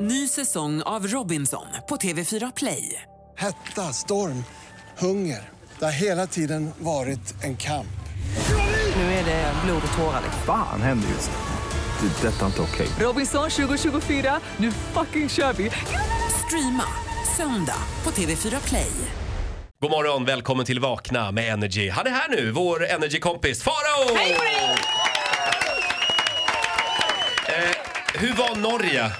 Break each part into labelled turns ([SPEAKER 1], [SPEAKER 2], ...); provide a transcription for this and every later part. [SPEAKER 1] Ny säsong av Robinson på TV4 Play.
[SPEAKER 2] Hetta, storm, hunger. Det har hela tiden varit en kamp.
[SPEAKER 1] Nu är det blod och tårar. liksom.
[SPEAKER 3] Fan händer just nu. Det. är Detta är inte okej.
[SPEAKER 1] Robinson 2024, nu fucking kör vi! Streama söndag på TV4 Play.
[SPEAKER 4] God morgon, välkommen till Vakna med Energy. Han är här nu, vår Energy-kompis Farao! Hej eh, Hur var Norge?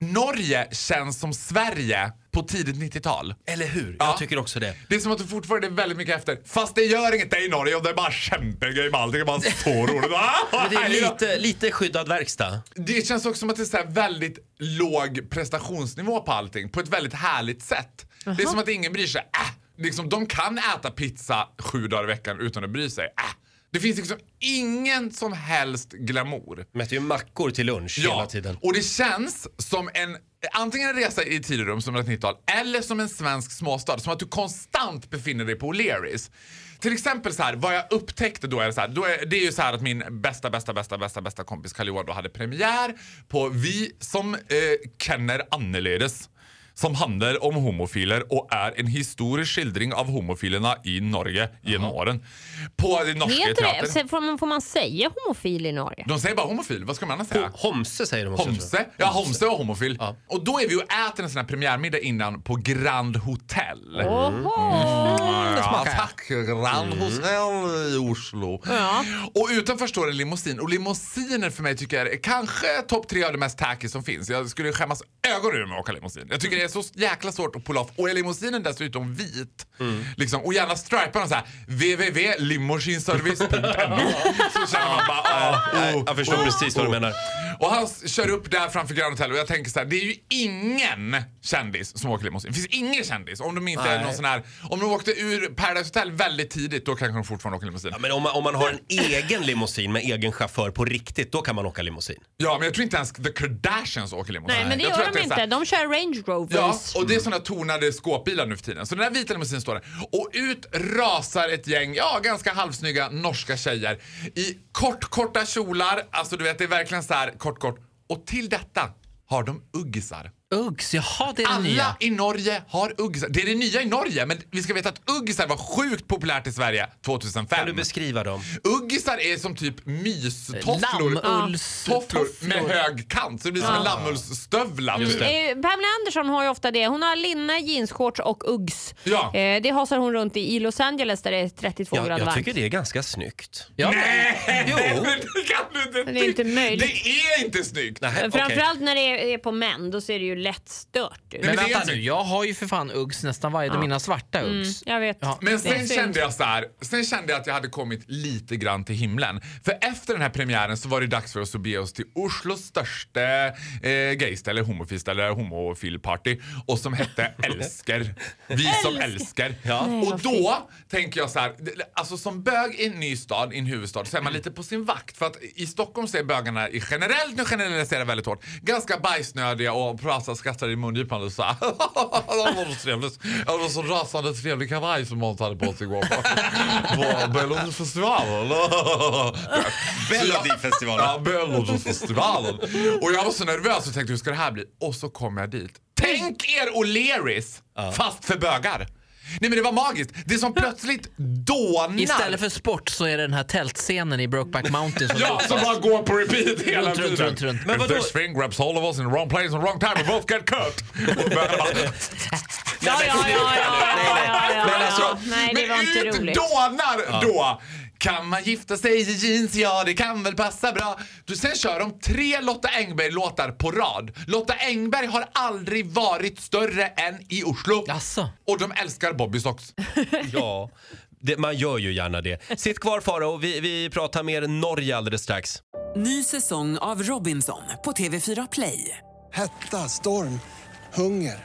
[SPEAKER 5] Norge känns som Sverige på tidigt 90-tal.
[SPEAKER 4] Eller hur?
[SPEAKER 5] Ja.
[SPEAKER 4] Jag tycker också det.
[SPEAKER 5] Det är som att du fortfarande är väldigt mycket efter. Fast det gör inget, det är i Norge och det är bara kämpegrej med allting. Det är bara så roligt. Ah,
[SPEAKER 4] Men det är
[SPEAKER 5] hej då.
[SPEAKER 4] lite, lite skyddad verkstad.
[SPEAKER 5] det känns också som att det är så här väldigt låg prestationsnivå på allting. På ett väldigt härligt sätt. Det är som att ingen bryr sig. Äh, liksom, de kan äta pizza sju dagar i veckan utan att bry sig. Äh. Det finns liksom ingen som helst glamour.
[SPEAKER 4] De äter ju mackor till lunch hela tiden.
[SPEAKER 5] Och det känns som en antingen en resa i Tiderum som 90-tal eller som en svensk småstad. Som att du konstant befinner dig på O'Learys. Till exempel så här, vad jag upptäckte då är det så här, då är, det är ju så här att min bästa, bästa, bästa, bästa, bästa kompis Kalle Johan då hade premiär på Vi som eh, känner annerledes som handlar om homofiler och är en historisk skildring av homofilerna i Norge genom åren. På den norska
[SPEAKER 6] Heter det?
[SPEAKER 5] teatern.
[SPEAKER 6] Sen Får man, får man säga homofil i Norge?
[SPEAKER 5] De säger bara homofil, vad ska man annars säga?
[SPEAKER 4] Homse säger de också. tror jag.
[SPEAKER 5] Homse? Ja, Homse och homofil.
[SPEAKER 4] Ja.
[SPEAKER 5] Och då är vi och äter en sån här premiärmiddag innan på Grand Hotel.
[SPEAKER 6] Mm. Oho!
[SPEAKER 5] Ja, tack. Grand Hotel i Oslo. Och utanför står en limousin. Och limousiner för mig tycker jag är kanske topp tre av det mest tacky som finns. Jag skulle skämmas ögon ur mig att åka limousin. Jag tycker det är så jäkla svårt att pulla off. Och är limousinen dessutom vit, liksom, och gärna stripar den så här www.limousinservice.no så känner man bara ah,
[SPEAKER 4] Nej,
[SPEAKER 5] oh,
[SPEAKER 4] jag förstår
[SPEAKER 5] oh,
[SPEAKER 4] precis vad du
[SPEAKER 5] oh.
[SPEAKER 4] menar.
[SPEAKER 5] Och han s- kör upp där framför Grand Hotel och jag tänker så här, det är ju ingen kändis som åker limousin. Det finns ingen kändis om de inte är
[SPEAKER 4] Nej.
[SPEAKER 5] någon sån här, om de åkte ur Paradise Hotel väldigt tidigt då kanske de fortfarande åker limousin.
[SPEAKER 4] Ja, men om man, om man har en egen limousin med egen chaufför på riktigt, då kan man åka limousin.
[SPEAKER 5] Ja men jag tror inte ens The Kardashians åker limousin.
[SPEAKER 6] Nej, men det
[SPEAKER 5] jag tror
[SPEAKER 6] gör
[SPEAKER 5] att
[SPEAKER 6] de
[SPEAKER 5] är så
[SPEAKER 6] inte.
[SPEAKER 5] här-
[SPEAKER 6] De kör Range Rovers.
[SPEAKER 5] Ja, och det är såna tonade skåpbilar nu för tiden. Så den här vita limousinen står där. Och ut rasar ett gäng, ja, ganska halvsnygga norska tjejer i kortkorta kjolar. Alltså du vet, det är verkligen så här kort, kort. Och till detta har de uggisar.
[SPEAKER 4] Uggs, jaha det är
[SPEAKER 5] Alla i Norge har uggisar. Det är det nya i Norge, men vi ska veta att uggisar var sjukt populärt i Sverige 2005.
[SPEAKER 4] Kan du beskriva dem?
[SPEAKER 5] Uggisar är som typ mystofflor.
[SPEAKER 4] Lammullstofflor.
[SPEAKER 5] Tofflor med hög kant, så det blir som en lammullsstövla. typ.
[SPEAKER 6] Eh, Pamela Andersson har ju ofta det. Hon har linne, jeansshorts och Uggs.
[SPEAKER 5] Ja.
[SPEAKER 6] Eh, det hasar hon runt i, i Los Angeles där det är 32
[SPEAKER 4] Jag,
[SPEAKER 6] grader
[SPEAKER 4] jag tycker
[SPEAKER 6] varmt.
[SPEAKER 4] det är ganska snyggt.
[SPEAKER 5] Nej!
[SPEAKER 4] Jo.
[SPEAKER 5] Det kan du inte
[SPEAKER 6] Det är inte
[SPEAKER 5] tycka.
[SPEAKER 6] möjligt.
[SPEAKER 5] Det är inte snyggt!
[SPEAKER 4] Nej, okej.
[SPEAKER 6] Framförallt när det är, är på män, då ser det ju lätt stört ut.
[SPEAKER 5] Nej, men
[SPEAKER 7] Men
[SPEAKER 5] det är
[SPEAKER 7] vänta
[SPEAKER 5] inte-
[SPEAKER 7] nu, jag har ju för fan Uggs nästan varje dag. Mina svarta
[SPEAKER 5] Mm,
[SPEAKER 7] Uggs.
[SPEAKER 6] Jag vet.
[SPEAKER 7] Ja.
[SPEAKER 5] Men
[SPEAKER 6] Det är
[SPEAKER 5] sen
[SPEAKER 6] synd.
[SPEAKER 5] kände, jag så här, sen kände jag att jag hade kommit lite grann till himlen. För efter den här premiären så var det dags för oss att bege oss till Oslos största eh, gayställe, homofist eller homofilparty och som hette Älsker. Vi som älskar. och då tänker jag så här, det- alltså som bög i en ny stad, i en huvudstad, så är man lite på sin vakt. För att i Stockholm så är bögarna i generellt, nu generaliserar jag väldigt hårt, ganska bajsnödiga och pratar, skrattar i mungipan och så här. Det var så trevligt. Ja, Det var så rasande trevlig kavaj som Måns hade på sig igår på, på Bellonfestivalen.
[SPEAKER 4] Melodifestivalen.
[SPEAKER 5] Ja, Bellonfestivalen. Och jag var så nervös och tänkte hur ska det här bli? Och så kom jag dit. Tänk er O'Learys fast för bögar. Nej men det var magiskt. Det är som plötsligt dånar.
[SPEAKER 7] Istället för sport så är det den här tältscenen i Brokeback Mountain som
[SPEAKER 5] Ja, som bara går på repeat hela
[SPEAKER 7] Runt, runt,
[SPEAKER 5] tiden.
[SPEAKER 7] runt, runt.
[SPEAKER 4] Men
[SPEAKER 5] If
[SPEAKER 4] vadå?
[SPEAKER 5] this thing grabs hold of us in the wrong place and wrong time we both get cut. Och bögarna bara-
[SPEAKER 6] Ja, ja, ja, ja, ja, ja, ja,
[SPEAKER 4] Men
[SPEAKER 6] ja,
[SPEAKER 4] alltså-
[SPEAKER 6] ja. Nej, det
[SPEAKER 5] Men
[SPEAKER 6] var inte roligt.
[SPEAKER 5] utdånar då! Kan man gifta sig i jeans? Ja, det kan väl passa bra. Du, sen kör de tre Lotta Engberg-låtar på rad. Lotta Engberg har aldrig varit större än i Oslo.
[SPEAKER 7] Jaså?
[SPEAKER 5] Och de älskar Bobbysocks.
[SPEAKER 4] Ja, det, man gör ju gärna det. Sitt kvar Farao, vi, vi pratar mer Norge alldeles strax.
[SPEAKER 1] Ny säsong av Robinson på TV4 Play.
[SPEAKER 2] Hetta, storm, hunger.